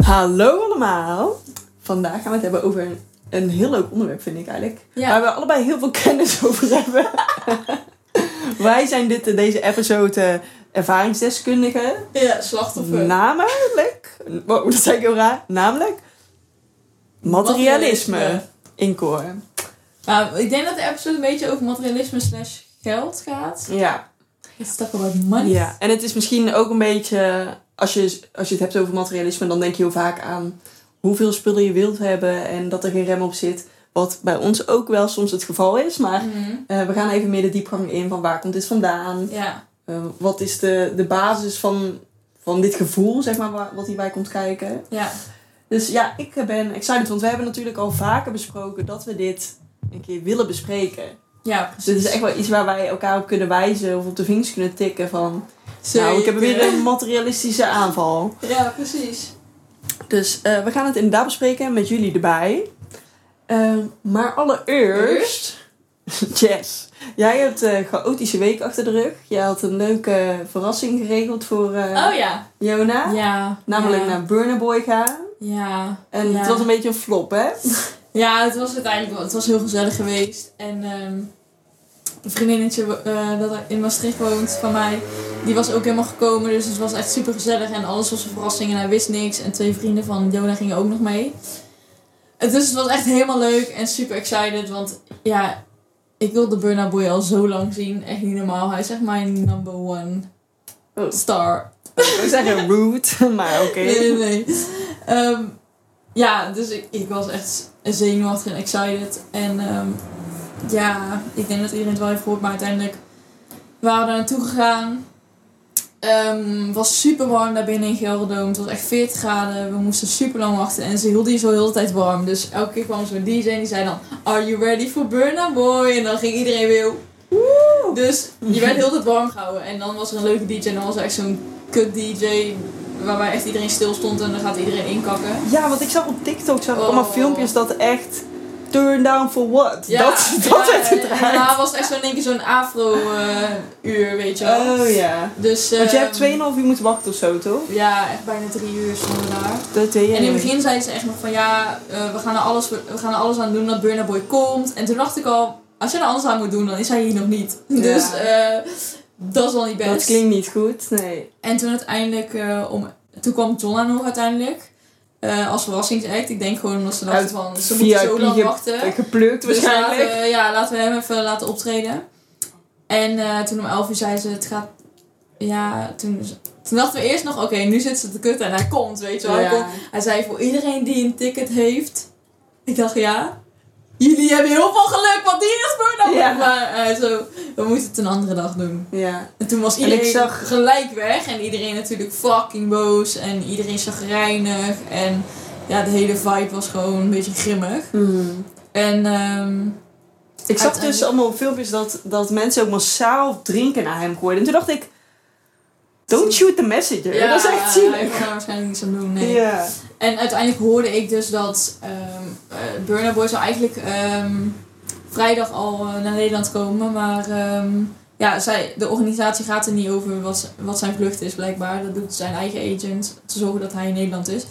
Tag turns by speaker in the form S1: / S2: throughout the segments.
S1: Hallo allemaal. Vandaag gaan we het hebben over een, een heel leuk onderwerp, vind ik eigenlijk.
S2: Ja.
S1: Waar we allebei heel veel kennis over hebben. Wij zijn dit, deze episode eh, ervaringsdeskundigen.
S2: Ja, slachtoffer.
S1: Nou. Namelijk, wow, dat zei ik heel raar, namelijk materialisme,
S2: Materialisme.
S1: in koor.
S2: Maar ik denk dat de episode een beetje over materialisme slash geld gaat.
S1: Ja.
S2: It's talk about money.
S1: ja. En het is misschien ook een beetje, als je, als je het hebt over materialisme, dan denk je heel vaak aan hoeveel spullen je wilt hebben en dat er geen rem op zit. Wat bij ons ook wel soms het geval is, maar
S2: Mhm.
S1: eh, we gaan even meer de diepgang in van waar komt dit vandaan?
S2: Ja.
S1: Eh, wat is de, de basis van, van dit gevoel, zeg maar, wa- wat hierbij komt kijken?
S2: Ja.
S1: Dus ja, ik ben excited, want we hebben natuurlijk al vaker besproken dat we dit een keer willen bespreken.
S2: Ja,
S1: Dus
S2: precies.
S1: dit is echt wel iets waar wij elkaar op kunnen wijzen of op de vingers kunnen tikken van... Nou, ik heb weer een materialistische aanval.
S2: Ja, precies.
S1: Dus eh, we gaan het inderdaad bespreken met jullie erbij. Eh, maar allereerst... Jess, jij hebt eh, een chaotische week achter de rug. Jij had een leuke verrassing geregeld voor eh
S2: oh ja.
S1: Jona.
S2: Ja.
S1: Namelijk
S2: ja.
S1: naar Burner Boy gaan.
S2: Ja.
S1: En
S2: ja.
S1: het was een beetje een flop, hè?
S2: Ja, het was uiteindelijk wel. Het was heel gezellig geweest. En ehm, een vriendinnetje wo- eh, dat in Maastricht woont van mij, die was ook helemaal gekomen. Dus het was echt super gezellig en alles was een verrassing en hij wist niks. En twee vrienden van Jona gingen ook nog mee. En dus het was echt helemaal leuk en super excited. Want ja, ik wil de Burna Boy al zo lang zien. Echt niet normaal. Hij is echt mijn number one
S1: Oh.
S2: star.
S1: Ik zou zeggen rude, maar oké.
S2: Nee, nee, nee. Ehm, ja, dus ik, ik was echt zenuwachtig en excited. En ehm, ja, ik denk dat iedereen het wel heeft gehoord, maar uiteindelijk waren we daar naartoe gegaan. Ehm, het was super warm daar binnen in Gelderdoom. Het was echt 40 graden. We moesten super lang wachten en ze hielden je zo heel de tijd warm. Dus elke keer kwam zo'n DJ en die zei dan: Are you ready for Burna Boy? En dan ging iedereen weer.
S1: Woe!
S2: Dus je werd heel het warm gehouden. En dan was er een leuke DJ en dan was er echt zo'n kut DJ waarbij echt iedereen stil stond en dan gaat iedereen inkakken.
S1: Ja, want ik zag op TikTok zag ik
S2: Oh.
S1: allemaal filmpjes dat echt turn down for what? dat dat
S2: ja,
S1: werd gedraaid.
S2: En daarna was het echt zo'n één keer zo'n afro-uur, weet je wel.
S1: Oh ja.
S2: Dus,
S1: Want je
S2: ehm,
S1: hebt 2,5 uur moeten wachten of zo, toch?
S2: Ja, echt bijna drie uur stonden we daar.
S1: Dat deed je
S2: En in het
S1: niet.
S2: begin zeiden ze echt nog van ja, eh, we, gaan er alles, we gaan er alles aan doen dat Burna Boy komt. En toen dacht ik al, als je er alles aan moet doen, dan is hij hier nog niet.
S1: Ja.
S2: Dus eh, dat is wel niet best.
S1: Dat klinkt niet goed, nee.
S2: En toen uiteindelijk, eh, om, toen kwam Jonna nog uiteindelijk. eh, als verrassingsact. Ik denk gewoon omdat ze dachten
S1: Uit
S2: van, ze moeten zo
S1: VIP
S2: lang
S1: ge-
S2: wachten.
S1: Geplukt
S2: Dus
S1: waarschijnlijk.
S2: laten we, ja, laten we hem even laten optreden. En eh, toen om 11 uur zei ze, het gaat... Ja, toen, toen dachten we eerst nog, oké, nu zit ze te kutten en hij komt, weet je wel. Hij, komt.
S1: ja.
S2: hij zei, voor iedereen die een ticket heeft... Ik dacht, ja, jullie hebben heel veel geluk, want die is voor dan.
S1: Ja.
S2: Maar eh, zo, we moeten het een andere dag doen.
S1: ja.
S2: En toen was
S1: En ik
S2: iedereen
S1: zag-
S2: gelijk weg. En iedereen natuurlijk fucking boos. En iedereen chagrijnig. En ja, de hele vibe was gewoon een beetje grimmig.
S1: Mhm.
S2: En ehm,
S1: Ik zag dus
S2: Uiteindelijk-
S1: allemaal filmpjes dat, dat mensen ook massaal drinken naar hem gooiden. En toen dacht ik, don't shoot the messenger. dat is echt
S2: Ik
S1: zielig.
S2: kan daar waarschijnlijk niks aan doen, nee.
S1: Ja.
S2: En uiteindelijk hoorde ik dus dat ehm eh, Burna Boy zou eigenlijk ehm, vrijdag al eh, naar Nederland komen. Maar ehm, ja, zij, de organisatie gaat er niet over wat, z- wat zijn vlucht is blijkbaar. Dat doet zijn eigen agent, te zorgen dat hij in Nederland is.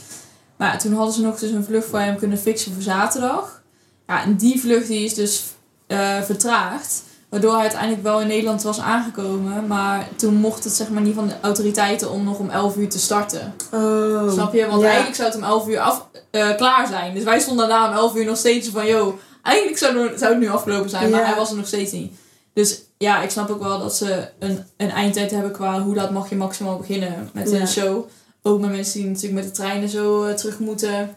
S2: Maar toen hadden ze nog dus een vlucht voor hem kunnen fixen voor zaterdag. Ja, en die vlucht die is dus eh, vertraagd. Waardoor hij uiteindelijk wel in Nederland was aangekomen. Maar toen mocht het zeg maar niet van de autoriteiten om nog om 11 uur te starten.
S1: Oh.
S2: Snap je? Want
S1: Ja.
S2: eigenlijk zou het om 11 uur af, eh, klaar zijn. Dus wij stonden daarna om 11 uur nog steeds van, yo, eigenlijk zou, het- zou het nu afgelopen zijn, maar
S1: Ja.
S2: hij was er nog steeds niet. Dus ja, ik snap ook wel dat ze een, een eindtijd hebben qua hoe laat mag je maximaal beginnen met
S1: Ja.
S2: een show. Ook met mensen die natuurlijk met de treinen zo eh, terug moeten.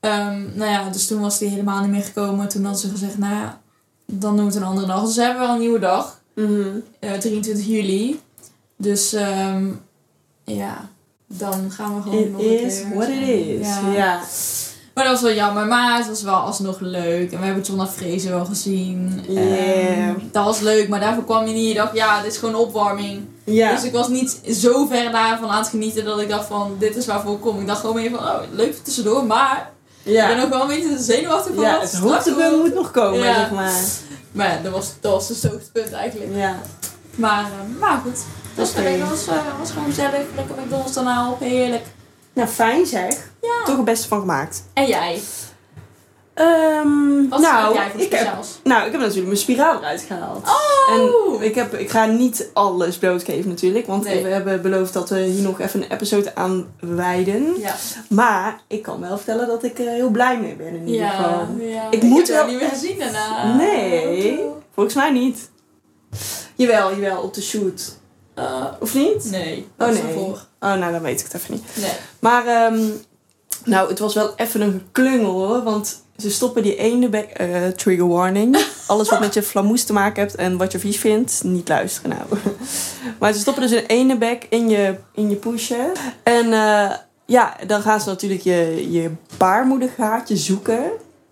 S2: Ehm, nou ja, dus toen was die helemaal niet meer gekomen. Toen hadden ze gezegd, nou ja, dan doen we het een andere dag. Dus ze hebben wel een nieuwe dag,
S1: Mhm.
S2: eh, 23 juli. Dus ehm, ja, dan gaan we gewoon
S1: It
S2: Oh, nog een
S1: is
S2: keer
S1: what it
S2: zijn.
S1: is.
S2: Ja.
S1: Ja.
S2: Maar dat was wel jammer, maar het was wel alsnog leuk. En we hebben Jonna Vrezen wel gezien.
S1: Yeah.
S2: Ehm, dat was leuk, maar daarvoor kwam je niet. Je dacht, ja, dit is gewoon opwarming.
S1: Ja.
S2: Dus ik was niet zo ver daarvan aan het genieten dat ik dacht van, dit is waarvoor ik kom. Ik dacht gewoon meer van, oh, leuk tussendoor, maar ik
S1: ja.
S2: ben ook wel een beetje zenuwachtig van
S1: Ja,
S2: wat
S1: het
S2: straks
S1: hoogtepunt
S2: komt.
S1: moet nog komen,
S2: Ja.
S1: zeg maar.
S2: Maar ja, dat was, dat was dus het hoogtepunt eigenlijk.
S1: Ja.
S2: Maar, eh, maar goed, dat was
S1: Oké.
S2: leuk. Dat was, eh, was gewoon gezellig. Lekker McDonald's daarna op, heerlijk.
S3: Nou, fijn zeg.
S2: Ja.
S1: Toch het beste van gemaakt.
S2: En jij?
S1: Ehm,
S2: Wat
S1: nou,
S2: heb jij voor
S1: ik heb,
S2: speciaals?
S1: nou, ik heb natuurlijk mijn spiraal eruit gehaald.
S2: Oh!
S1: En ik, heb, ik ga niet alles blootgeven natuurlijk, want
S2: Nee.
S1: we hebben beloofd dat we hier nog even een episode aan wijden.
S2: ja.
S1: Maar ik kan wel vertellen dat ik er heel blij mee ben in ieder
S2: Ja,
S1: geval.
S2: ja.
S1: Ik moet
S2: heb jou
S1: wel-
S2: niet meer gezien daarna. Oh,
S1: Nee. Volgens mij niet. Jawel, jawel, op de shoot. Eh, of niet?
S2: Nee.
S1: Oh,
S2: dat is
S1: nee.
S2: ervoor.
S1: Oh, nou, dan weet ik het even niet.
S2: Nee.
S1: Maar, ehm, nou, het was wel even een klungel hoor. Want ze stoppen die ene bek. eh, trigger warning. Alles wat met je flamoes te maken hebt en wat je vies vindt, niet luisteren nou. maar ze stoppen dus een ene bek in je, in je poesje. En eh, ja, dan gaan ze natuurlijk je, je baarmoedergaatje zoeken.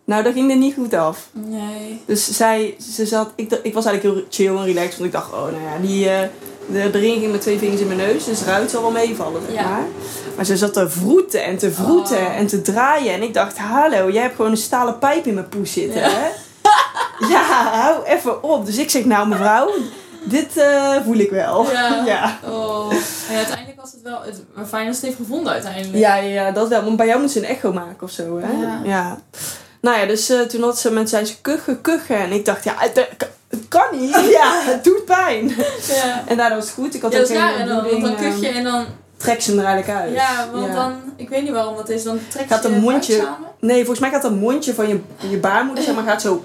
S1: Nou, dat ging er niet goed af.
S2: Nee.
S1: Dus zij, ze zat, ik, dacht- ik was eigenlijk heel chill en relaxed, want ik dacht, oh nou ja, die, eh, de, de ring ging met twee vingers in mijn neus, dus eruit zal wel meevallen, zeg
S2: Ja.
S1: maar. Maar ze zat te vroeten en te vroeten
S2: Oh.
S1: en te draaien en ik dacht, hallo, jij hebt gewoon een stalen pijp in mijn poes zitten,
S2: Ja.
S1: hè? Ja, hou even op. Dus ik zeg, nou mevrouw, dit eh, voel ik wel.
S2: Ja.
S1: ja.
S2: Oh. En uiteindelijk was het wel... Het, maar fijn dat ze het heeft gevonden uiteindelijk.
S1: Ja, ja, ja, dat wel. Want bij jou moet ze een echo maken of zo, hè?
S2: Ja.
S1: Nou ja, dus eh, toen had ze met zijn kuchen, kuchen. En ik dacht, ja, het, eh, k- het kan niet. Ja, het doet pijn.
S2: Ja.
S1: En daardoor was het goed. Ik had
S2: Ja,
S1: ook
S2: dat is
S1: geen
S2: raar. En dan, want
S1: bloeding,
S2: dan
S1: eh,
S2: kut je en dan...
S1: Trek ze hem er eigenlijk uit.
S2: Ja, want
S1: Ja.
S2: dan... Ik weet niet waarom dat is. Dan trek je
S1: Gaat een
S2: je buik
S1: mondje-
S2: samen.
S1: Nee, volgens mij gaat dat mondje van je, je baarmoeder, zeg maar, gaat zo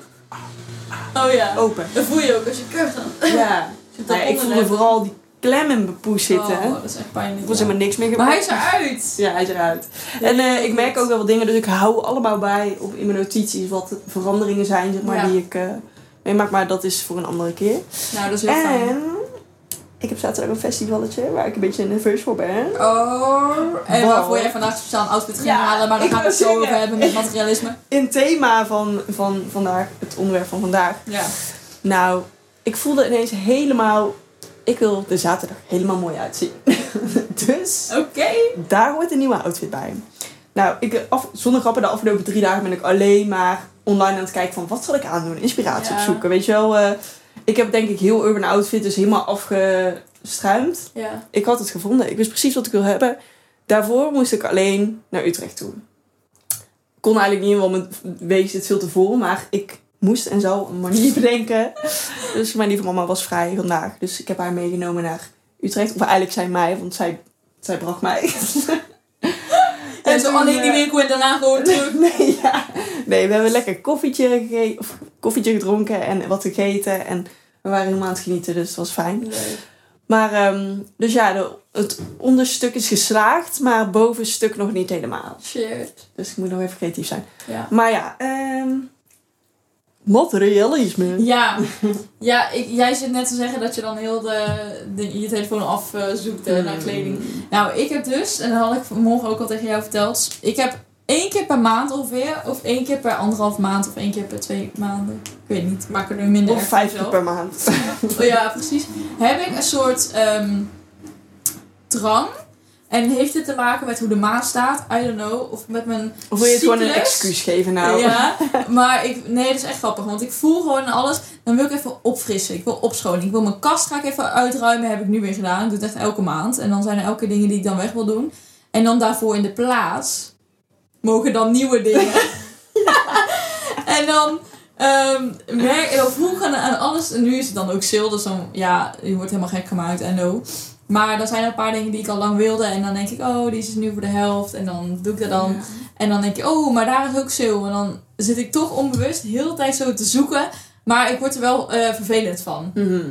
S2: Oh ja.
S1: open.
S2: Dat voel je ook als je kucht dan.
S1: Ja.
S2: Zit dat
S1: Nou ja, ik
S2: onder
S1: voelde
S2: de-
S1: vooral die klem in mijn poes zitten.
S2: Oh, dat is echt
S1: Ik
S2: pijnlijk.
S1: was
S2: ja.
S1: helemaal niks meer
S2: Maar hij is eruit.
S1: Ja, hij is eruit. En eh, ik merk ook wel wat dingen, dus ik hou allemaal bij op, in mijn notities wat de veranderingen zijn, zeg maar,
S2: Ja.
S1: die ik eh meemaak. Maar dat is voor een andere keer.
S2: Nou, dat is heel fijn.
S1: En ik heb zaterdag een festivalletje waar ik een beetje nerveus voor ben.
S2: Oh, en
S1: Wow.
S2: waarvoor jij vandaag speciaal een outfit ging
S1: Ja,
S2: halen, maar daar
S1: ik
S2: gaan we het
S1: wou
S2: zo over
S1: zeggen.
S2: hebben met materialisme.
S1: In thema van, van vandaag, het onderwerp van vandaag.
S2: Ja.
S1: Nou, ik voelde ineens helemaal, ik wil de zaterdag helemaal mooi uitzien. dus
S2: Oké.
S1: daar hoort een nieuwe outfit bij. Nou, ik, af, zonder grappen, de afgelopen drie dagen ben ik alleen maar online aan het kijken van wat zal ik aandoen, inspiratie
S2: Ja.
S1: opzoeken. Weet je wel, eh, ik heb denk ik heel Urban Outfit dus helemaal afgestruimd.
S2: Ja.
S1: Ik had het gevonden, ik wist precies wat ik wil hebben. Daarvoor moest ik alleen naar Utrecht toe. Kon eigenlijk niet, want mijn wees zit veel te vol, maar ik moest en zou een manier bedenken. Dus mijn lieve mama was vrij vandaag, dus ik heb haar meegenomen naar Utrecht. Of eigenlijk zij mij, want zij, zij bracht mij.
S2: En zo
S1: toen,
S2: alleen die
S1: eh,
S2: winkel en daarna gewoon terug.
S1: Nee, ja. nee, we hebben lekker koffietje, gege- of koffietje gedronken en wat gegeten. En we waren helemaal aan het genieten, dus het was fijn. Maar, ehm, dus ja, de- het onderstuk is geslaagd, maar het bovenstuk nog niet helemaal.
S2: Shit.
S1: Dus ik moet nog even creatief zijn.
S2: Ja.
S1: Maar ja, ehm materialisme.
S2: Ja, ja ik, jij zit net te zeggen dat je dan heel de, de- je telefoon afzoekt
S1: Hmm.
S2: eh, naar kleding. Nou, ik heb dus, en dat had ik vanmorgen ook al tegen jou verteld, ik heb één keer per maand ongeveer, of één keer per anderhalf maand, of één keer per twee maanden, ik weet niet, ik maak er nu minder
S1: Of
S2: erg
S1: vijf keer
S2: van
S1: per
S2: zelf.
S1: maand.
S2: Oh ja, precies. Heb ik een soort ehm, drang. En heeft dit te maken met hoe de maat staat? I don't know. Of met mijn.
S1: Of wil je het gewoon een
S2: Cyclus?
S1: excuus geven nou?
S2: Ja, maar ik, nee, dat is echt grappig. Want ik voel gewoon aan alles. Dan wil ik even opfrissen. Ik wil opschonen. Ik wil mijn kast ga ik even uitruimen. Heb ik nu weer gedaan. Ik doe het echt elke maand. En dan zijn er elke keer dingen die ik dan weg wil doen. En dan daarvoor in de plaats mogen dan nieuwe dingen. en dan ehm merk en dan voel ik aan, aan alles. En nu is het dan ook sale. Dus dan, ja, je wordt helemaal gek gemaakt. En no. Maar dan zijn er een paar dingen die ik al lang wilde. En dan denk ik, oh, die is nu voor de helft. En dan doe ik dat dan. En dan denk je, oh, maar daar is ook sale. En dan zit ik toch onbewust heel de hele tijd zo te zoeken. Maar ik word er wel eh, vervelend van.
S1: Mhm.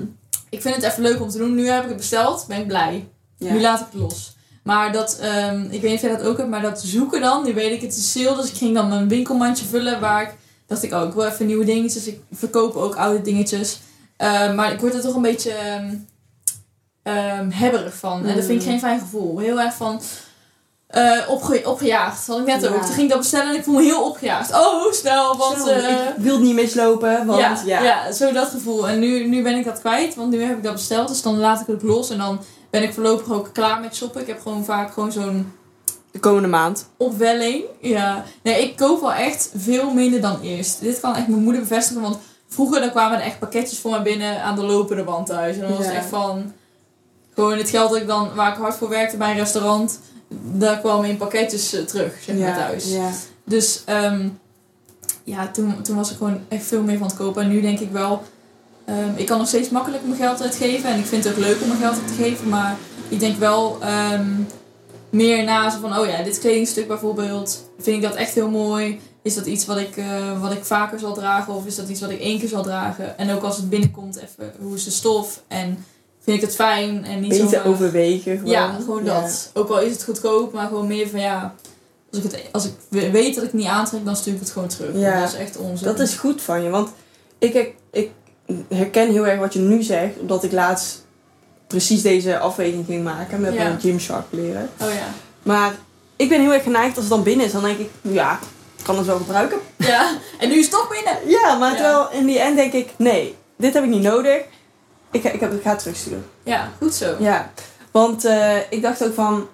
S2: Ik vind het even leuk om te doen. Nu heb ik het besteld, ben ik blij. Nu
S1: ja.
S2: laat ik het los. Maar dat, ehm, ik weet niet of jij dat ook hebt, maar dat zoeken dan, nu weet ik het is sale. Dus ik ging dan mijn winkelmandje vullen waar ik dacht ik, oh, ik wil even nieuwe dingetjes. Ik verkoop ook oude dingetjes. Ehm, maar ik word er toch een beetje ehm, ehm, hebberig van. En dat vind
S1: Hmm.
S2: ik geen fijn gevoel. Heel erg van eh, opge- opgejaagd. Dat had ik net ook.
S1: Ja.
S2: Toen ging ik dat bestellen en ik voel me heel opgejaagd. Oh, snel, want...
S1: Zo,
S2: eh,
S1: ik wil het niet mislopen, want ja.
S2: ja, zo dat gevoel. En nu, nu ben ik dat kwijt, want nu heb ik dat besteld. Dus dan laat ik het los en dan ben ik voorlopig ook klaar met shoppen. Ik heb gewoon vaak gewoon zo'n
S1: De komende maand.
S2: opwelling. Ja. Nee, ik koop wel echt veel minder dan eerst. Dit kan echt mijn moeder bevestigen, want vroeger dan kwamen er echt pakketjes voor mij binnen aan de lopende band thuis. En dan was het
S1: Ja.
S2: echt van... Gewoon het geld dat ik dan, waar ik hard voor werkte bij een restaurant, daar kwam in pakketjes eh, terug, zeg maar, thuis.
S1: Ja.
S2: Dus ehm, ja, toen, toen was ik gewoon echt veel meer van het kopen. En nu denk ik wel, ehm, ik kan nog steeds makkelijk mijn geld uitgeven. En ik vind het ook leuk om mijn geld uit te geven. Maar ik denk wel ehm, meer na zo van, oh ja, dit kledingstuk bijvoorbeeld. Vind ik dat echt heel mooi? Is dat iets wat ik, eh, wat ik vaker zal dragen? Of is dat iets wat ik één keer zal dragen? En ook als het binnenkomt, even hoe is de stof? En vind ik het fijn? En niet
S1: Beter
S2: zomaar-
S1: overwegen. Gewoon.
S2: ja, gewoon
S1: Ja.
S2: dat. Ook al is het goedkoop, maar gewoon meer van ja. Als ik, het, als ik we- weet dat ik het niet aantrek, dan stuur ik het gewoon terug.
S1: Ja.
S2: Want Dat is echt onzin.
S1: Dat is goed van je, want ik, her- ik herken heel erg wat je nu zegt, omdat ik laatst precies deze afweging ging maken met
S2: Ja.
S1: mijn Gymshark leren.
S2: Oh ja.
S1: Maar ik ben heel erg geneigd als het dan binnen is, dan denk ik, ja, ik kan het wel gebruiken.
S2: Ja, en nu is het toch binnen.
S1: Ja, maar
S2: Ja.
S1: terwijl in die end denk ik, nee, dit heb ik niet nodig. Ik, ga- ik, heb, ik ga het terugsturen.
S2: Ja, goed zo.
S1: Ja, want eh, ik dacht ook van,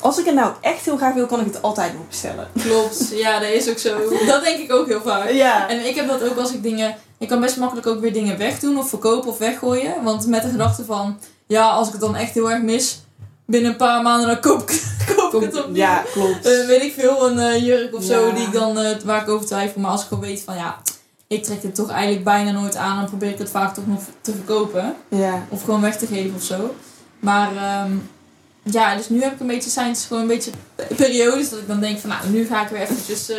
S1: als ik het nou echt heel graag wil, kan ik het altijd nog bestellen.
S2: Klopt. Ja, dat is ook zo. Dat denk ik ook heel vaak.
S1: Ja,
S2: En ik heb dat ook als ik dingen. Ik kan best makkelijk ook weer dingen wegdoen of verkopen of weggooien. Want met de gedachte van, ja, als ik het dan echt heel erg mis, binnen een paar maanden dan koop ik, koop ik het opnieuw.
S1: ja klopt.
S2: Eh, weet ik veel, een eh, jurk of zo,
S1: Dus- Ja.
S2: die ik dan, eh, waar ik over twijfel. Maar als ik gewoon weet van ja, ik trek dit toch eigenlijk bijna nooit aan, dan probeer ik het vaak toch nog te verkopen.
S1: ja.
S2: Of gewoon weg te geven of zo. Maar ehm, ja, dus nu heb ik een beetje, zijn het gewoon een beetje periodes dat ik dan denk van nou, nu ga ik weer eventjes, eh,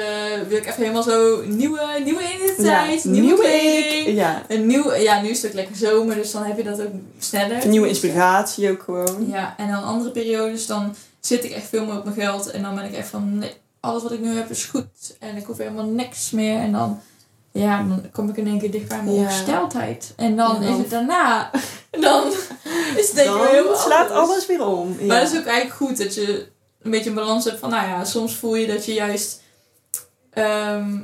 S2: wil ik even helemaal zo nieuwe, nieuwe identiteit,
S1: Ja,
S2: nieuwe,
S1: nieuwe
S2: kleding.
S1: ja.
S2: Een nieuw, ja, nu is het ook lekker zomer, dus dan heb je dat ook sneller.
S1: Een nieuwe inspiratie ook gewoon.
S2: Ja, en dan andere periodes, dan zit ik echt veel meer op mijn geld. En dan ben ik echt van, nee, alles wat ik nu heb is goed. En ik hoef helemaal niks meer. En dan, ja, dan kom ik in één keer dicht bij mijn
S1: Ja.
S2: ongesteldheid. En dan
S1: Ja.
S2: is het daarna, dan is het denk ik weer heel
S1: Dan slaat
S2: anders.
S1: alles weer om. Ja.
S2: Maar het is ook eigenlijk goed dat je een beetje een balans hebt van, nou ja, soms voel je dat je juist... ehm,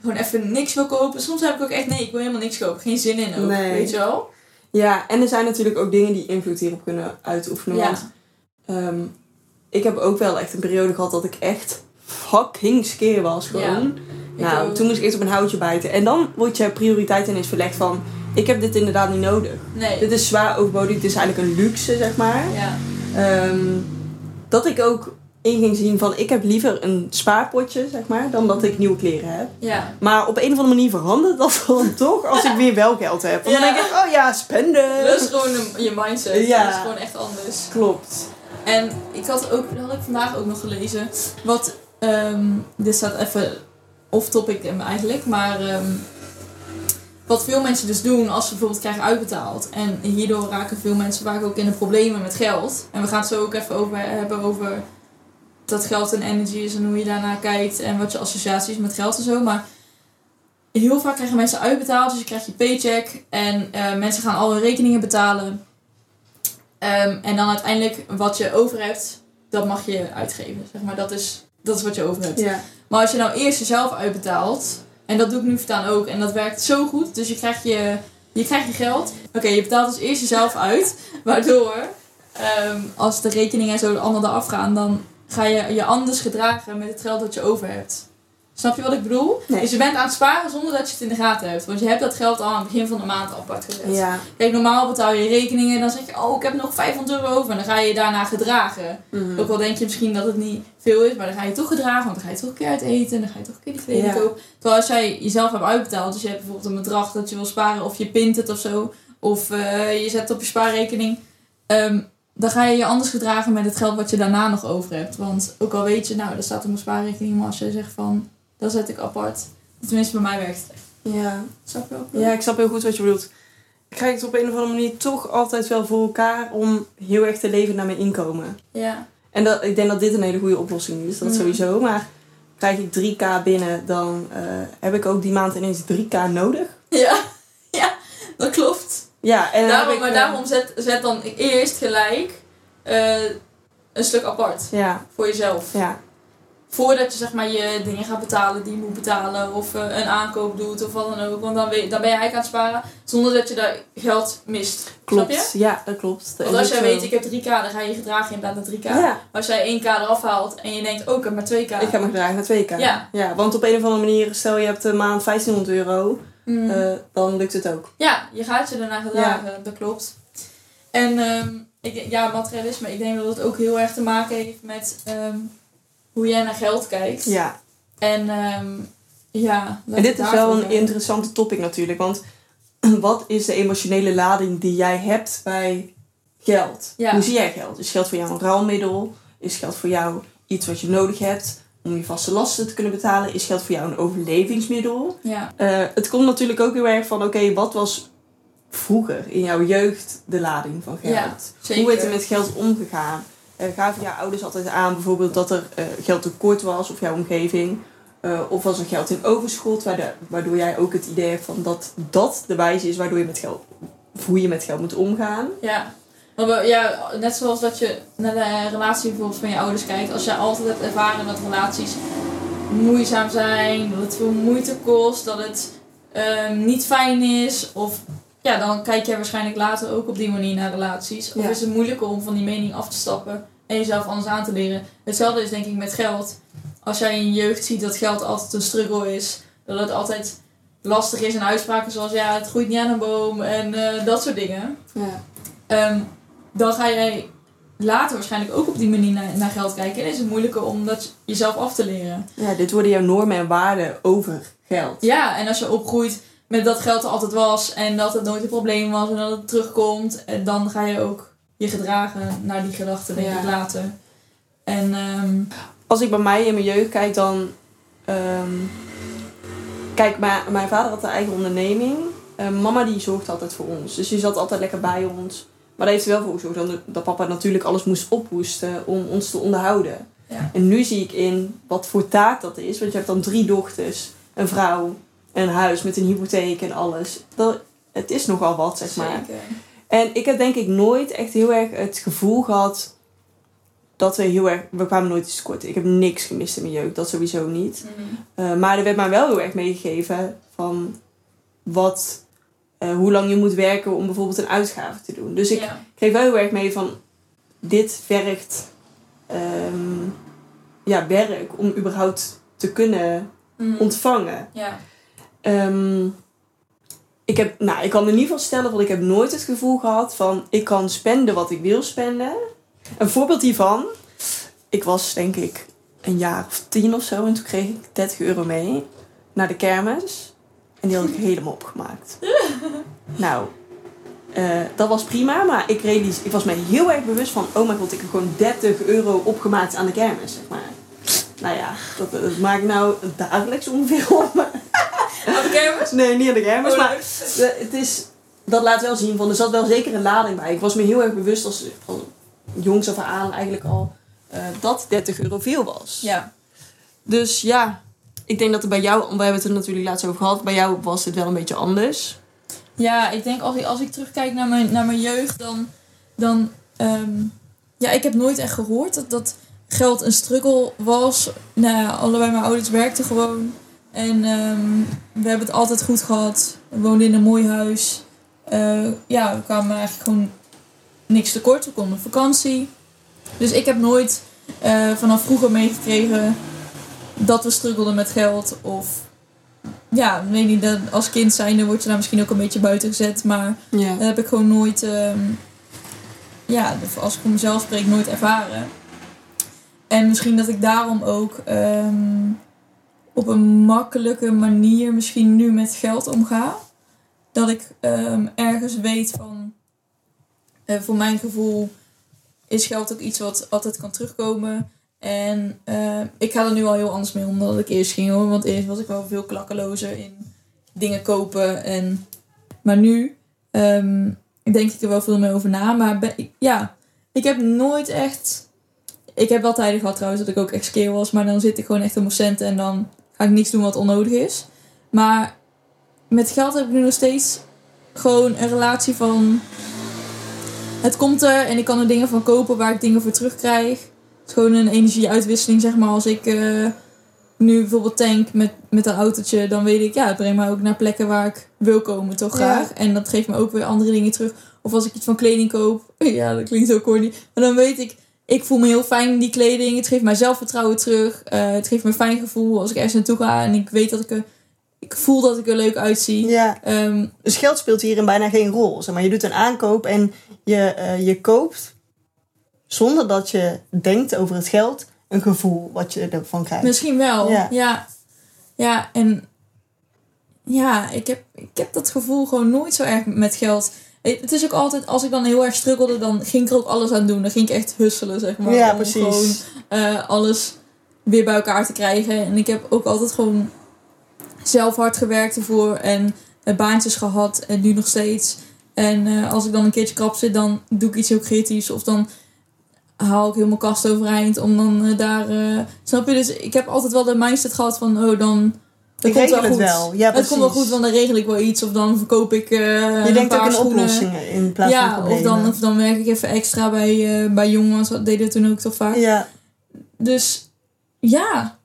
S2: gewoon even niks wil kopen. Soms heb ik ook echt, nee, ik wil helemaal niks kopen. Geen zin in ook,
S1: Nee.
S2: weet je wel?
S1: ja, en er zijn natuurlijk ook dingen die invloed hierop kunnen uitoefenen.
S2: Ja.
S1: Want ehm, ik heb ook wel echt een periode gehad dat ik echt fucking skeer was gewoon.
S2: Ik
S1: nou,
S2: ook.
S1: toen moest ik echt op een houtje bijten. En dan wordt je prioriteit ineens verlegd van... Ik heb dit inderdaad niet nodig.
S2: Nee.
S1: Dit is zwaar overbodig. Dit is eigenlijk een luxe, zeg maar.
S2: Ja.
S1: Ehm, dat ik ook in ging zien van... Ik heb liever een spaarpotje, zeg maar... Dan dat ik nieuwe kleren heb.
S2: Ja.
S1: Maar op een of andere manier verandert dat dan toch als ik weer wel geld heb. Want
S2: Ja.
S1: dan denk ik, oh ja, spenden.
S2: Dat is gewoon een- je mindset.
S1: Ja.
S2: Dat is gewoon echt anders.
S1: Klopt.
S2: En ik had ook, dat had ik vandaag ook nog gelezen. Wat, ehm, dit staat even off-topic em, eigenlijk, maar ehm, wat veel mensen dus doen als ze bijvoorbeeld krijgen uitbetaald. En hierdoor raken veel mensen vaak ook in de problemen met geld. En we gaan het zo ook even over hebben over dat geld en energy is en hoe je daarnaar kijkt en wat je associaties met geld en zo. Maar heel vaak krijgen mensen uitbetaald, dus je krijgt je paycheck en eh, mensen gaan al hun rekeningen betalen. Ehm, en dan uiteindelijk wat je over hebt, dat mag je uitgeven. Zeg maar. dat, is, dat is wat je over hebt.
S1: Ja.
S2: Maar als je nou eerst jezelf uitbetaalt, en dat doe ik nu voortaan ook, en dat werkt zo goed, dus je krijgt je, je, krijgt je geld. Oké, je betaalt dus eerst jezelf uit, waardoor ehm, als de rekeningen en zo allemaal eraf gaan, dan ga je je anders gedragen met het geld dat je over hebt. Snap je wat ik bedoel?
S1: Nee.
S2: Dus je bent aan het sparen zonder dat je het in de gaten hebt. Want je hebt dat geld al aan het begin van de maand apart gezet.
S1: Ja.
S2: Kijk, normaal betaal je rekeningen en dan zeg je, oh, ik heb nog 500 euro over. En dan ga je je daarna gedragen.
S1: Mm.
S2: Ook al denk je misschien dat het niet veel is, maar dan ga je toch gedragen. Want dan ga je toch een keer uit eten en dan ga je toch een keer die kleding
S1: Ja.
S2: kopen. Terwijl als jij jezelf hebt uitbetaald, dus je hebt bijvoorbeeld een bedrag dat je wil sparen of je pint het of zo. Of eh, je zet het op je spaarrekening. ehm, dan ga je je anders gedragen met het geld wat je daarna nog over hebt. Want ook al weet je, nou, dat staat op mijn spaarrekening. Maar als jij zegt van, dat zet ik apart. Tenminste, bij mij werkt het echt.
S1: Ja.
S2: Snap je ook?
S1: ja, ik snap heel goed wat je bedoelt. Ik krijg het op een of andere manier toch altijd wel voor elkaar om heel erg te leven naar mijn inkomen.
S2: Ja.
S1: En dat, ik denk dat dit een hele goede oplossing is, dat
S2: Mhm.
S1: sowieso. Maar krijg ik 3k binnen, dan eh, heb ik ook die maand ineens 3k nodig.
S2: Ja, ja dat klopt.
S1: Ja, en dan heb
S2: Daarom,
S1: ik,
S2: maar
S1: eh,
S2: daarom zet, zet dan eerst gelijk eh, een stuk apart
S1: Ja,
S2: voor jezelf.
S1: ja,
S2: Voordat je zeg maar, je dingen gaat betalen die je moet betalen, of eh, een aankoop doet of wat dan ook. Want dan, weet, dan ben je eigenlijk aan het sparen zonder dat je daar geld mist. Snap
S1: klopt. Ja, dat klopt.
S2: je? Want als jij weet, ik heb 3k, dan ga je je gedragen inderdaad naar 3k.
S1: Ja,
S2: Maar als jij 1k eraf haalt en je denkt, oh, ik heb maar 2k.
S1: ik heb me gedragen naar 2k.
S2: Ja.
S1: ja, want op een of andere manier, stel je hebt een maand 1500 euro,
S2: Mm.
S1: Eh, dan lukt het ook.
S2: Ja, je gaat je daarna gedragen, dat klopt. En ehm, ik, denk- ja, materialisme, ik denk dat het ook heel erg te maken heeft met ehm, hoe jij naar geld kijkt.
S1: Ja,
S2: En ehm, ja, dat
S1: en dit
S2: het
S1: is wel
S2: daarover
S1: een
S2: gaat.
S1: interessante topic natuurlijk. Want wat is de emotionele lading die jij hebt bij geld?
S2: Ja.
S1: Hoe zie jij geld? Is geld voor jou een ruilmiddel? Is geld voor jou iets wat je nodig hebt om je vaste lasten te kunnen betalen? Is geld voor jou een overlevingsmiddel?
S2: Ja,
S1: Eh, het komt natuurlijk ook heel erg van, oké, wat was vroeger in jouw jeugd de lading van geld?
S2: Ja, zeker.
S1: Hoe werd er met geld omgegaan? Eh, gaven jouw ouders altijd aan bijvoorbeeld dat er eh, geld tekort was of jouw omgeving? Eh, of was er geld in overschot, waardoor, waardoor jij ook het idee hebt van dat dat de wijze is waardoor je met geld, of hoe je met geld moet omgaan?
S2: Ja. Maar we- ja, net zoals dat je naar de relatie bijvoorbeeld van je ouders kijkt. Als jij altijd hebt ervaren dat relaties moeizaam zijn, dat het veel moeite kost, dat het ehm, niet fijn is. Of ja, dan kijk jij waarschijnlijk later ook op die manier naar relaties. Of
S1: Ja.
S2: is het moeilijker om van die mening af te stappen en jezelf anders aan te leren. Hetzelfde is denk ik met geld. Als jij in je jeugd ziet dat geld altijd een struggle is, dat het altijd lastig is en uitspraken zoals ja, het groeit niet aan een boom en eh, dat soort dingen.
S1: Ja.
S2: Ehm, dan ga jij later waarschijnlijk ook op die manier naar, naar geld kijken. En is het moeilijker om dat jezelf af te leren.
S1: ja, dit worden jouw normen en waarden over geld.
S2: Ja, en als je opgroeit met dat geld er altijd was en dat het nooit een probleem was en dat het terugkomt, eh, dan ga je ook je gedragen naar die gedachten, denk
S1: Ja.
S2: ik, later. En ehm,
S1: als ik bij mij in mijn jeugd kijk, dan. ehm, kijk, mijn, mijn vader had een eigen onderneming. Eh, mama die zorgde altijd voor ons. Dus die zat altijd lekker bij ons. Maar daar heeft er wel voor gezorgd dat, dat papa natuurlijk alles moest ophoesten om ons te onderhouden.
S2: Ja.
S1: En nu zie ik in wat voor taak dat is. Want je hebt dan drie dochters, een vrouw, en een huis met een hypotheek en alles. Dat, het is nogal wat, zeg maar.
S2: zeker.
S1: En ik heb denk ik nooit echt heel erg het gevoel gehad dat we heel erg. We kwamen nooit iets tekort. Ik heb niks gemist in mijn jeugd, dat sowieso niet.
S2: Mhm.
S1: Eh, maar er werd mij wel heel erg meegegeven van wat, eh, hoe lang je moet werken om bijvoorbeeld een uitgave te doen. Dus ik
S2: ja.
S1: kreeg wel heel erg mee van dit vergt ehm, ja, werk om überhaupt te kunnen
S2: Mhm.
S1: ontvangen.
S2: ja.
S1: Ehm, ik, heb, nou, ik kan in ieder geval stellen, want ik heb nooit het gevoel gehad van ik kan spenden wat ik wil spenden. Een voorbeeld hiervan. Ik was denk ik een jaar of tien of zo en toen kreeg ik 30 euro mee naar de kermis. En die had ik helemaal opgemaakt. Nou, eh, dat was prima, maar ik, realis- ik was me heel erg bewust van: oh mijn god, ik heb gewoon 30 euro opgemaakt aan de kermis, zeg maar. Nou ja, dat, dat maak ik nou dagelijks ongeveer op.
S2: Op de kermis?
S1: Nee, niet aan de kermis,
S2: Oh,
S1: maar
S2: leuk.
S1: eh, het is, dat laat wel zien van, er zat wel zeker een lading bij. Ik was me heel erg bewust als, als jongs af aan eigenlijk al eh, dat 30 euro veel was.
S2: Ja.
S1: Dus ja, ik denk dat het bij jou, want we hebben het er natuurlijk laatst over gehad, bij jou was het wel een beetje anders.
S2: Ja, ik denk als ik, als ik terugkijk naar mijn, naar mijn jeugd, dan. dan ehm, ja, ik heb nooit echt gehoord dat, dat geld een struggle was. Nou, ja, allebei mijn ouders werkten gewoon. En ehm, we hebben het altijd goed gehad. We woonden in een mooi huis. Eh, ja, we kwamen eigenlijk gewoon niks tekort. We konden op vakantie. Dus ik heb nooit eh, vanaf vroeger meegekregen dat we struggelden met geld. Of ja, ik weet niet, dat als kind zijnde word je daar misschien ook een beetje buiten gezet. Maar
S1: Ja.
S2: dat heb ik gewoon nooit, ehm, ja, als ik voor mezelf spreek, nooit ervaren. En misschien dat ik daarom ook ehm, op een makkelijke manier misschien nu met geld omga. Dat ik ehm, ergens weet van, eh, voor mijn gevoel is geld ook iets wat altijd kan terugkomen. En ehm, ik ga er nu al heel anders mee om dan dat ik eerst ging hoor. Want eerst was ik wel veel klakkelozer in dingen kopen. En... Maar nu Ehm, ik denk ik er wel veel meer over na. Maar ben- ik- ja, ik heb nooit echt. Ik heb wel tijden gehad trouwens dat ik ook ex was. Maar dan zit ik gewoon echt op mijn centen en dan ga ik niks doen wat onnodig is. Maar met geld heb ik nu nog steeds gewoon een relatie van. Het komt er en ik kan er dingen van kopen waar ik dingen voor terugkrijg. Het is gewoon een energieuitwisseling, zeg maar. Als ik eh, nu bijvoorbeeld tank met, met een autootje, dan weet ik, ja, het brengt me ook naar plekken waar ik wil komen,
S1: Ja.
S2: toch graag. En dat geeft me ook weer andere dingen terug. Of als ik iets van kleding koop, ja, dat klinkt heel corny. Maar dan weet ik, ik voel me heel fijn in die kleding. Het geeft mij zelfvertrouwen terug. Eh, het geeft me een fijn gevoel als ik ergens naartoe ga en ik weet dat ik er, ik voel dat ik er leuk uitzie.
S1: ja,
S2: Ehm,
S1: dus geld speelt hierin bijna geen rol. Zeg maar, je doet een aankoop en Je, eh, je koopt, zonder dat je denkt over het geld, een gevoel wat je ervan krijgt.
S2: Misschien wel.
S1: Ja.
S2: Ja. ja. en ja, ik heb, ik heb dat gevoel gewoon nooit zo erg met geld. Eh, Het is ook altijd, als ik dan heel erg struggelde, dan ging ik er ook alles aan doen. Dan ging ik echt husselen, zeg maar.
S1: ja,
S2: om
S1: precies.
S2: Dus gewoon, eh, alles weer bij elkaar te krijgen. En ik heb ook altijd gewoon zelf hard gewerkt ervoor. En eh, baantjes gehad en nu nog steeds. En eh, als ik dan een keertje krap zit, dan doe ik iets heel creatiefs. Of dan haal ik heel mijn kast overeind om dan eh, daar... eh, snap je? Dus ik heb altijd wel de mindset gehad van... Oh, dan... Dat
S1: Ik
S2: komt wel
S1: regel
S2: goed.
S1: het wel. Ja,
S2: het
S1: precies.
S2: komt wel goed, want dan regel ik wel iets. Of dan verkoop ik eh
S1: je
S2: een
S1: denkt ook
S2: paar
S1: in
S2: schoenen.
S1: oplossingen in plaats van
S2: Ja, of
S1: problemen.
S2: dan, of dan werk ik even extra bij, eh, bij jongens. Dat deden we toen ook toch vaak.
S1: Ja,
S2: Dus ja,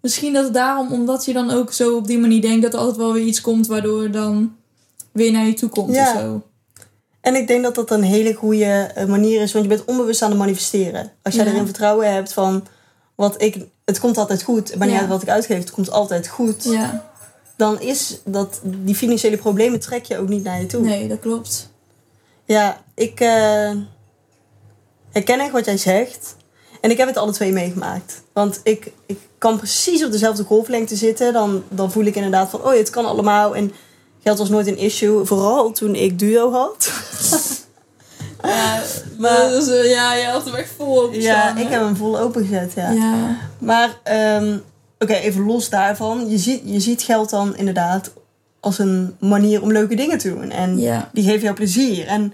S2: misschien dat het daarom, omdat je dan ook zo op die manier denkt dat er altijd wel weer iets komt waardoor dan weer naar je toe komt
S1: Ja.
S2: of zo.
S1: En ik denk dat dat een hele goede eh, manier is, want je bent onbewust aan het manifesteren. Als jij
S2: Ja.
S1: erin vertrouwen hebt van wat ik, het komt altijd goed, en wanneer
S2: Ja.
S1: uit wat ik uitgeef, het komt altijd goed,
S2: Ja,
S1: dan is dat die financiële problemen trek je ook niet naar je toe.
S2: nee, dat klopt.
S1: Ja, ik eh, herken echt wat jij zegt. En ik heb het alle twee meegemaakt. Want ik, ik kan precies op dezelfde golflengte zitten. Dan, dan voel ik inderdaad van, oh ja, het kan allemaal. En geld was nooit een issue. Vooral toen ik duo had.
S2: Ja,
S1: Maar-
S2: maar, dus, eh, ja, je had hem echt vol op
S1: Ja, ik heb hem vol opengezet, ja.
S2: ja. ja.
S1: Maar, ehm, oké, even los daarvan. Je ziet, je ziet geld dan inderdaad als een manier om leuke dingen te doen. En
S2: Ja,
S1: die geven jou plezier. En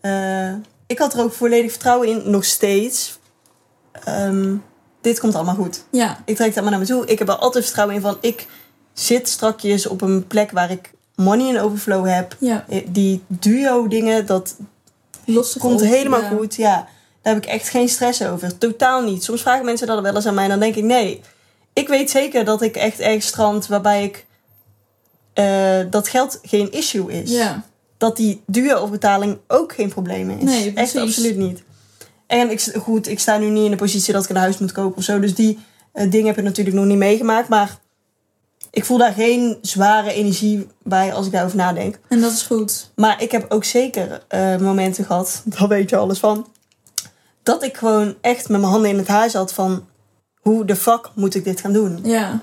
S1: eh, ik had er ook volledig vertrouwen in, nog steeds. Ehm, dit komt allemaal goed.
S2: ja,
S1: Ik trek dat maar naar me toe. Ik heb er altijd vertrouwen in van, ik zit strakjes op een plek waar ik money in overflow heb.
S2: ja.
S1: Eh, Die duo dingen, dat,
S2: Losse
S1: komt
S2: golf,
S1: helemaal
S2: ja.
S1: goed. Ja, daar heb ik echt geen stress over. Totaal niet. Soms vragen mensen dat wel eens aan mij. En dan denk ik, nee. Ik weet zeker dat ik echt ergens strand waarbij ik... eh, dat geld geen issue is.
S2: Ja,
S1: Dat die duo of betaling ook geen probleem is.
S2: Nee,
S1: echt
S2: precies.
S1: absoluut niet. En ik, goed, ik sta nu niet in de positie dat ik een huis moet kopen of zo. Dus die eh, dingen heb ik natuurlijk nog niet meegemaakt. Maar ik voel daar geen zware energie bij als ik daarover nadenk.
S2: en dat is goed.
S1: Maar ik heb ook zeker eh, momenten gehad, daar weet je alles van. Dat ik gewoon echt met mijn handen in het haar zat van hoe de fuck moet ik dit gaan doen?
S2: Ja,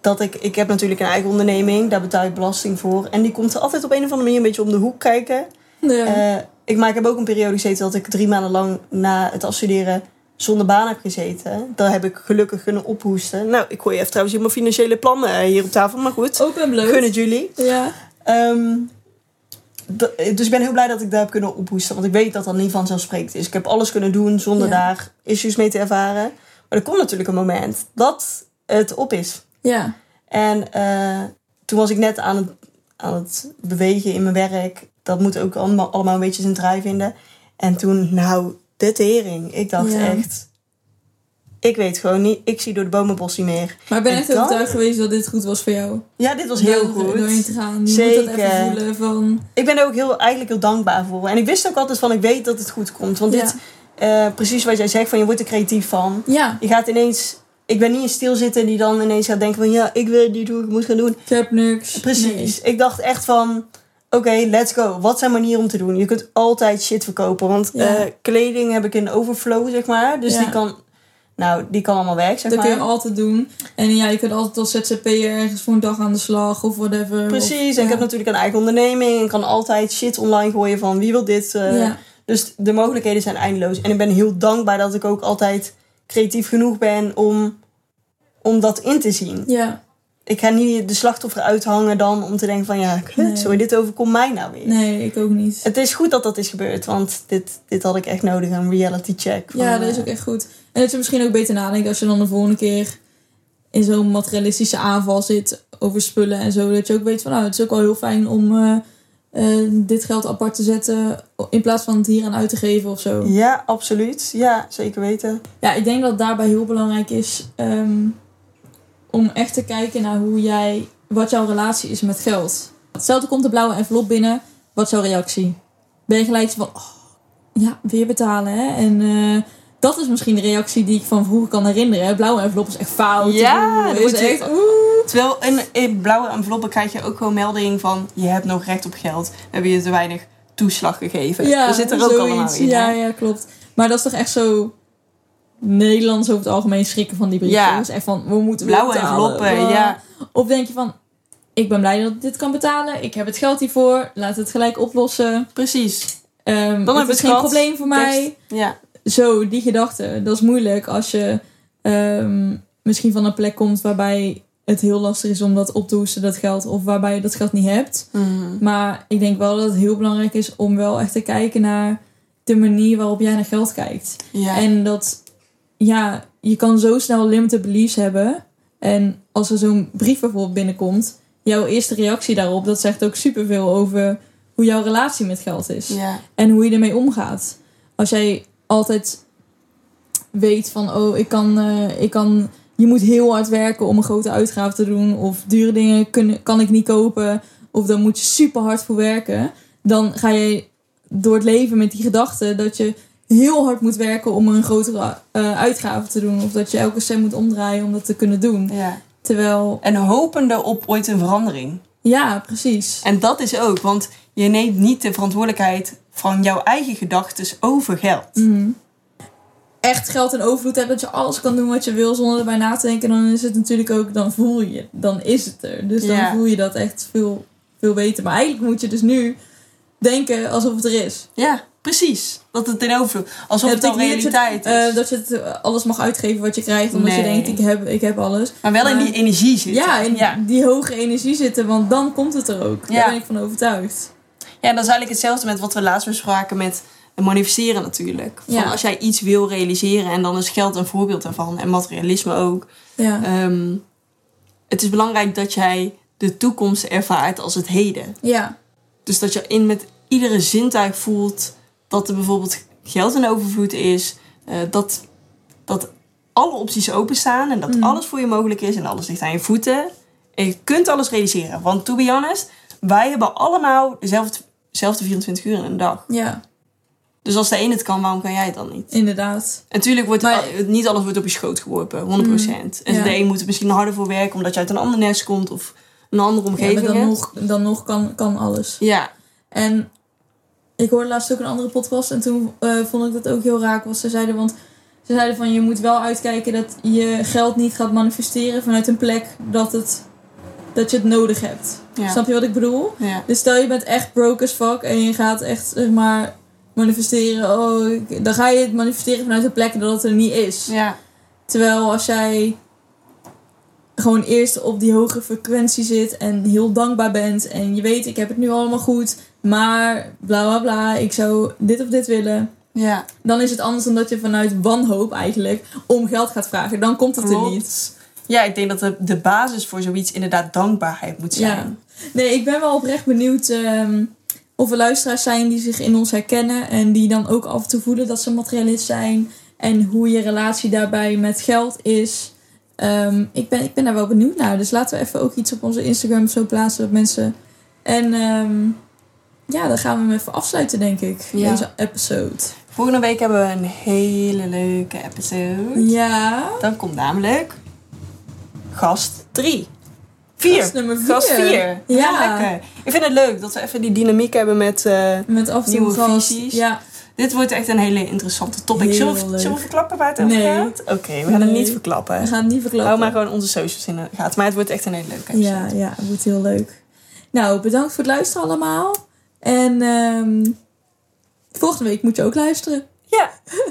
S1: Dat ik, ik heb natuurlijk een eigen onderneming, daar betaal ik belasting voor. En die komt er altijd op een of andere manier een beetje om de hoek kijken.
S2: ja.
S1: Eh, ik, maar ik heb ook een periode gezeten dat ik drie maanden lang na het afstuderen zonder baan heb gezeten. Daar heb ik gelukkig kunnen ophoesten. Nou, ik gooi even trouwens in mijn financiële plannen eh, hier op tafel, maar goed.
S2: ook en Oh, leuk.
S1: Gun het jullie.
S2: Ja,
S1: Ehm, d- dus ik ben heel blij dat ik daar heb kunnen ophoesten. Want ik weet dat dat niet vanzelfsprekend is. Ik heb alles kunnen doen zonder
S2: Ja.
S1: daar issues mee te ervaren. Maar er komt natuurlijk een moment dat het op is.
S2: ja,
S1: En eh, toen was ik net aan het, aan het bewegen in mijn werk. Dat moet ook allemaal, allemaal een beetje zijn draai vinden. En toen, nou, de tering. Ik dacht
S2: Ja.
S1: echt... Ik weet gewoon niet. Ik zie door de bomenbos niet meer.
S2: maar ik ben
S1: En
S2: echt
S1: dan-
S2: overtuigd geweest dat dit goed was voor jou.
S1: Ja, dit was heel
S2: Door- Doorheen
S1: goed.
S2: te gaan. Je moet dat
S1: Zeker.
S2: even voelen van...
S1: Ik ben er ook heel, eigenlijk heel dankbaar voor. En ik wist ook altijd van, ik weet dat het goed komt. Want dit, eh, precies wat jij zegt, van je wordt er creatief van.
S2: Ja,
S1: Je gaat ineens, ik ben niet een stilzitter die dan ineens gaat denken van... Ja, ik weet niet hoe ik moet gaan doen.
S2: ik heb niks.
S1: Precies. Ik dacht echt van, oké, let's go. Wat zijn manieren om te doen? Je kunt altijd shit verkopen. Want
S2: Ja.
S1: eh, kleding heb ik in overflow, zeg maar. Dus
S2: Ja.
S1: die kan, nou, die kan allemaal weg, zeg
S2: Dat kun je
S1: maar.
S2: altijd doen. En ja, je kunt altijd als ZZP'er ergens voor een dag aan de slag of whatever.
S1: Precies.
S2: Of-
S1: En ik
S2: ja.
S1: heb natuurlijk een eigen onderneming. Ik kan altijd shit online gooien van, wie wil dit? eh,
S2: Ja,
S1: Dus de mogelijkheden zijn eindeloos. En ik ben heel dankbaar dat ik ook altijd creatief genoeg ben om, om dat in te zien.
S2: ja,
S1: Ik ga niet de slachtoffer uithangen dan om te denken van ja, kut,
S2: Nee.
S1: sorry, dit overkomt mij nou weer.
S2: nee, ik ook niet.
S1: Het is goed dat dat is gebeurd, want dit, dit had ik echt nodig, een reality check. van,
S2: Ja, dat is
S1: eh,
S2: ook echt goed. En dat je misschien ook beter nadenkt als je dan de volgende keer in zo'n materialistische aanval zit over spullen en zo. Dat je ook weet van nou, het is ook wel heel fijn om eh, eh, dit geld apart te zetten in plaats van het hier aan uit te geven of zo.
S1: Ja, absoluut. Ja, zeker weten.
S2: Ja, ik denk dat het daarbij heel belangrijk is ehm, om echt te kijken naar hoe jij, wat jouw relatie is met geld. Stel, er komt de blauwe envelop binnen, wat is jouw reactie? Ben je gelijk van, oh, ja, weer betalen hè? En eh, dat is misschien de reactie die ik van vroeger kan herinneren. Hè? Blauwe envelop Oh, is echt fout.
S1: Ja,
S2: Oeh,
S1: dat
S2: is
S1: moet je-
S2: echt, oeh.
S1: Terwijl in, in blauwe enveloppen krijg je ook gewoon melding van je hebt nog recht op geld. Heb je te weinig toeslag gegeven. er zit er ook allemaal in.
S2: Ja,
S1: hè?
S2: ja, klopt. Maar dat is toch echt zo... Nederlands over het algemeen schrikken van die briefjes.
S1: Ja.
S2: Echt van, we moeten
S1: Blauwe
S2: betalen.
S1: enveloppen,
S2: Bla.
S1: ja.
S2: Of denk je van, ik ben blij dat ik dit kan betalen. Ik heb het geld hiervoor. Laat het gelijk oplossen.
S1: Precies.
S2: Ehm
S1: Dan
S2: het
S1: heb
S2: is
S1: ik
S2: geen
S1: gehad.
S2: probleem voor mij.
S1: Ja.
S2: Zo, die gedachte. Dat is moeilijk als je ehm, misschien van een plek komt waarbij het heel lastig is om dat op te hoesten, dat geld. Of waarbij je dat geld niet hebt.
S1: Mhm.
S2: Maar ik denk wel dat het heel belangrijk is om wel echt te kijken naar de manier waarop jij naar geld kijkt.
S1: ja.
S2: En dat, ja, je kan zo snel limited beliefs hebben. En als er zo'n brief bijvoorbeeld binnenkomt, jouw eerste reactie daarop, dat zegt ook superveel over hoe jouw relatie met geld is.
S1: ja.
S2: En hoe je ermee omgaat. Als jij altijd weet van, oh, ik kan, eh, ik kan, je moet heel hard werken om een grote uitgave te doen. Of dure dingen kunnen, kan ik niet kopen. Of dan moet je super hard voor werken. Dan ga je door het leven met die gedachte dat je heel hard moet werken om een grotere eh, uitgave te doen. Of dat je elke cent moet omdraaien om dat te kunnen doen.
S1: ja.
S2: Terwijl,
S1: En hopende op ooit een verandering.
S2: ja, precies.
S1: En dat is ook, want je neemt niet de verantwoordelijkheid van jouw eigen gedachten over geld.
S2: Mhm. echt geld en overvloed hebt, dat je alles kan doen wat je wil zonder erbij na te denken, dan is het natuurlijk ook, dan voel je, dan is het er. Dus dan
S1: Ja.
S2: voel je dat echt veel, veel beter. Maar eigenlijk moet je dus nu denken alsof het er is.
S1: Ja, precies. Dat het in overvloed. Alsof het
S2: Dat
S1: al
S2: betekent niet
S1: realiteit
S2: dat je,
S1: is.
S2: eh, dat je het, eh, alles mag uitgeven wat je krijgt, omdat je
S1: Nee.
S2: denkt, ik heb, ik heb alles.
S1: maar wel in
S2: maar-
S1: die energie zitten.
S2: Ja, in
S1: ja.
S2: die hoge energie zitten, want dan komt het er ook.
S1: Ja.
S2: Daar ben ik van overtuigd.
S1: Ja, dat is eigenlijk hetzelfde met wat we laatst bespraken met manifesteren natuurlijk. Van
S2: Ja.
S1: Als jij iets wil realiseren en dan is geld een voorbeeld daarvan. En materialisme ook.
S2: Ja.
S1: Ehm, het is belangrijk dat jij de toekomst ervaart als het heden.
S2: ja.
S1: Dus dat je in met iedere zintuig voelt dat er bijvoorbeeld geld in overvloed is. eh, dat, dat alle opties openstaan en dat
S2: Mhm.
S1: alles voor je mogelijk is en alles ligt aan je voeten. En je kunt alles realiseren. Want to be honest, wij hebben allemaal dezelfde, dezelfde 24 uur in een dag.
S2: Ja,
S1: Dus als de een het kan, waarom kan jij het dan niet?
S2: inderdaad.
S1: En Natuurlijk wordt
S2: Maar- Mm,
S1: al- niet alles wordt op je schoot geworpen, 100%. En
S2: ja.
S1: de een moet er misschien harder voor werken omdat je uit een ander nest komt of een andere
S2: Ja,
S1: omgeving
S2: maar dan
S1: hebt.
S2: nog, dan nog kan, kan alles.
S1: Ja,
S2: En ik hoorde laatst ook een andere podcast en toen eh, vond ik dat ook heel raak. wat ze zeiden, want ze zeiden van je moet wel uitkijken dat je geld niet gaat manifesteren vanuit een plek dat, het, dat je het nodig hebt.
S1: Ja.
S2: Snap je wat ik bedoel?
S1: ja,
S2: Dus stel je bent echt broke as fuck en je gaat echt zeg maar manifesteren. Oh, ik- dan ga je het manifesteren vanuit een plek dat het er niet is.
S1: ja,
S2: Terwijl als jij gewoon eerst op die hoge frequentie zit en heel dankbaar bent en je weet, ik heb het nu allemaal goed, maar bla bla bla, ik zou dit of dit willen.
S1: ja.
S2: Dan is het anders dan dat je vanuit wanhoop eigenlijk om geld gaat vragen. Dan komt het er
S1: Klopt.
S2: niet.
S1: Ja, ik denk dat de, de basis voor zoiets inderdaad dankbaarheid moet zijn.
S2: Nee, ik ben wel oprecht benieuwd ehm, of er luisteraars zijn die zich in ons herkennen en die dan ook af en toe voelen dat ze materialist zijn en hoe je relatie daarbij met geld is. Ehm, ik, ben, ik ben daar wel benieuwd naar. Dus laten we even ook iets op onze Instagram zo plaatsen dat mensen. En ehm, ja, dan gaan we hem even afsluiten, denk ik.
S1: Ja.
S2: Deze episode.
S1: Volgende week hebben we een hele leuke episode.
S2: Ja.
S1: Dan komt namelijk gast 3. 4.
S2: Gast nummer vier.
S1: Gast 4. Ja.
S2: Ja.
S1: lekker. Ik vind het leuk dat we even die dynamiek hebben met... eh,
S2: Met af en toe
S1: Nieuwe
S2: een gast.
S1: visies.
S2: Ja.
S1: dit wordt echt een hele interessante topic.
S2: Heel
S1: Zullen we,
S2: leuk.
S1: zullen we verklappen waar het over
S2: Nee.
S1: gaat? Oké, we gaan het
S2: Nee.
S1: niet verklappen.
S2: We gaan het niet verklappen.
S1: Hou maar gewoon onze socials in de gaten. Maar het wordt echt een hele leuke episode.
S2: Ja, ja, het wordt heel leuk. Nou, bedankt voor het luisteren allemaal. En ehm, volgende week moet je ook luisteren.
S1: Ja,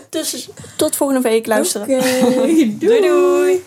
S1: dus tot volgende week luisteren.
S2: Oké, doei.
S1: doei. doei.